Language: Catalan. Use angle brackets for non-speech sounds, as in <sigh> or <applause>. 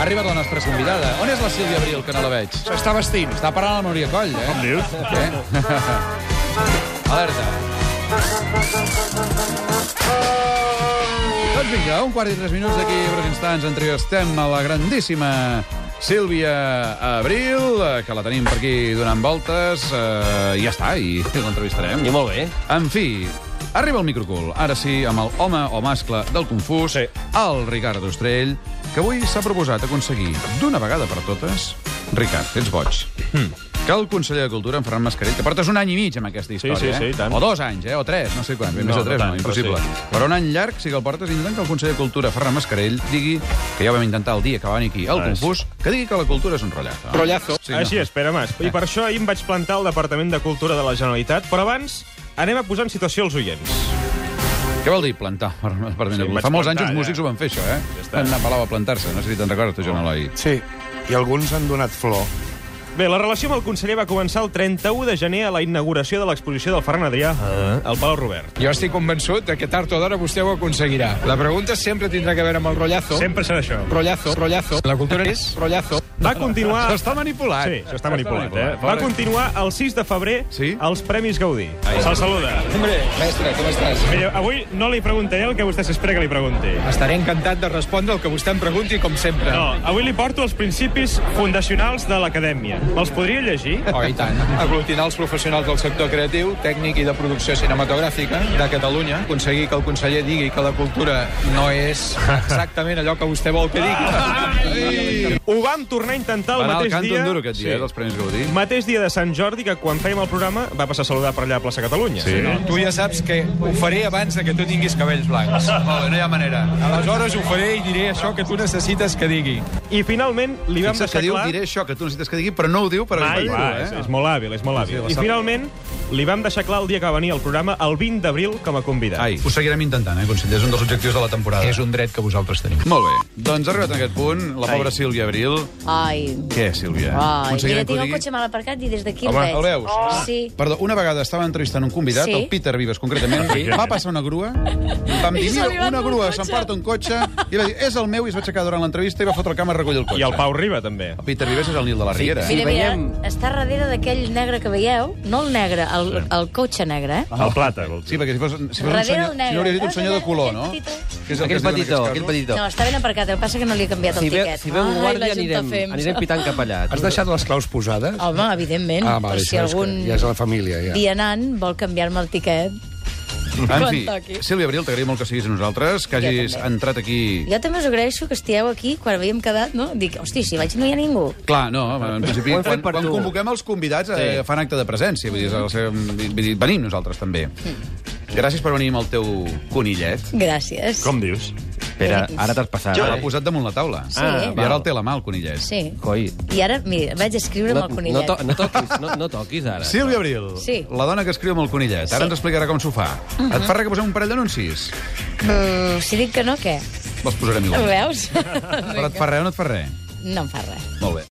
arribat la nostra convidada. On és la Sílvia Abril, que no la veig? S'està vestint. Està parant la Núria Coll, eh? Com dius? Eh? <laughs> Alerta. Doncs vinga, un quart i tres minuts d'aquí a breus instants entrevistem a la grandíssima Sílvia Abril, eh, que la tenim per aquí donant voltes. Eh, I ja està, i <laughs> l'entrevistarem. I molt bé. En fi, arriba el microcul, ara sí, amb el home o mascle del confús, sí. el Ricard Ostrell, que avui s'ha proposat aconseguir, d'una vegada per totes... Ricard, ets boig. Hmm. Que el conseller de Cultura, en Ferran Mascarell, que portes un any i mig amb aquesta història, sí, sí, eh? i tant. o dos anys, eh? o tres, no sé quan, ben No, més de tres, no no, tant, però impossible. sí. Però un any llarg sí que el portes intentant que el conseller de Cultura, Ferran Mascarell, digui, que ja ho vam intentar el dia que va venir aquí al Ah, sí. confús, que digui que la cultura és un rotllazo. Rotllazo. Sí, no? Així és, Pere Mas. I per això ahir em vaig plantar al Departament de Cultura de la Generalitat, però abans anem a posar en situació els oients. Què vol dir plantar? Per, per sí, em vaig Fa molts anys plantar, els ja. músics ho van fer, això, eh? Ja està. Van anar a Palau a plantar-se. No sé si te'n recordes, tu, Joan Eloi. Sí, i alguns han donat flor. Bé, la relació amb el conseller va començar el 31 de gener a la inauguració de l'exposició del Ferran Adrià al Palau Robert. Jo estic convençut de que tard o d'hora vostè ho aconseguirà. La pregunta sempre tindrà que veure amb el rotllazo. Sempre serà això. Rotllazo, rotllazo. La cultura és rotllazo. Va continuar... S'està manipulat. Sí, s'està manipulat, eh? Va Pobre. continuar el 6 de febrer Sí? als Premis Gaudí. Se'l saluda. Hombre, mestre, com estàs? Mira, avui no li preguntaré el que vostè s'espera que li pregunti. Estaré encantat de respondre el que vostè em pregunti, com sempre. No, avui li porto els principis fundacionals de l'acadèmia. Me'ls podria llegir? Oh, i tant. Aglutinar els professionals del sector creatiu, tècnic i de producció cinematogràfica de Catalunya. Aconseguir que el conseller digui que la cultura no és exactament allò que vostè vol que digui. Ho vam tornar a intentar el Va anar al mateix canto dia... en duro aquest dia, eh, dels Premis Gaudí. Mateix dia de Sant Jordi, que quan fèiem el programa va passar a saludar per allà a plaça Catalunya. Sí. No? Tu ja saps que ho faré abans de que tu tinguis cabells blancs. Ah. Vale, no hi ha manera. Aleshores ho faré i diré això que tu necessites que digui. I finalment li vam Fixa't deixar que diu, clar... diré això que tu necessites que digui, però no ho diu per eh? Ai, evitar-ho, va, és, és molt hàbil, és molt hàbil. sí, la I sap. finalment li vam deixar clar el dia que va venir al programa el 20 d'abril com a convidat. Ai, ho seguirem intentant, eh, conseller? És un dels objectius de la temporada. És un... dret que vosaltres teniu. Molt bé. Doncs arribat a aquest punt, la pobra Sílvia Abril... Ai, Què, Sílvia? ai. Mira, Aconseguirem que ho tinc el digui? cotxe mal aparcat i des d'aquí el Home, veig. el veus? Oh. Sí. Perdó, una vegada estava entrevistant un convidat, Sí. el Peter Vives, concretament, va passar una grua, vam dir, I se li mira, va una endur el grua, cotxe." s'emporta un cotxe, i va dir, és el meu, i es va aixecar durant l'entrevista i va fotre el camp a recollir el cotxe. I el Pau Riba, també. El Peter Vives és el Nil de la Riera. Mira, mira, veiem. està darrere d'aquell negre que veieu, no el negre, el, el cotxe negre, eh? El Plata, vol Sí, dir. perquè si fos, si fos un Darrere senyor, el negre. si no hauria dit un Veus senyor de allà, color, aquell no? petitó? Que és Aquell diuen en petitó, aquests aquell casos. petitó. No, està ben aparcat, el que passa que no li he canviat el Si ve, tiquet. si ve un Ai, guàrdia la anirem, Juntafems. anirem pitant cap allà. Has deixat les claus posades? Home, evidentment, Ah, vale, per això si és que algun ja és la família, ja. dia anant vol canviar-me el tiquet. En Quan fi, toqui. Sílvia Abril, t'agraïm molt que siguis amb nosaltres, que Jo hagis també. entrat aquí... Jo també us agraeixo que estigueu aquí quan havíem quedat, no? Dic, hosti, si vaig no hi ha ningú. Clar, no, en principi, Ho hem fet quan, per quan tu. convoquem els convidats eh, fan acte de presència, vull dir, és el seu, vull dir venim nosaltres també. Mm. Gràcies per venir amb el teu conillet. Gràcies. Com dius? Espera, ara t'has passat. L'ha eh? posat damunt la taula. Sí. eh? I ara el té a la mà, el conillet. Sí. Coi. I ara, mira, vaig escriure No, amb el no, conillet. to no, toquis, no, no toquis, ara. Sílvia Abril, Sí. la dona que escriu amb el conillet. Ara Sí. Mhm. ens explicarà com s'ho fa. Et fa res que posem un parell d'anuncis? Mm, si dic que no, què? Els posarem Ho igual. veus? Però et fa res o no et fa res? no em fa res. Molt bé.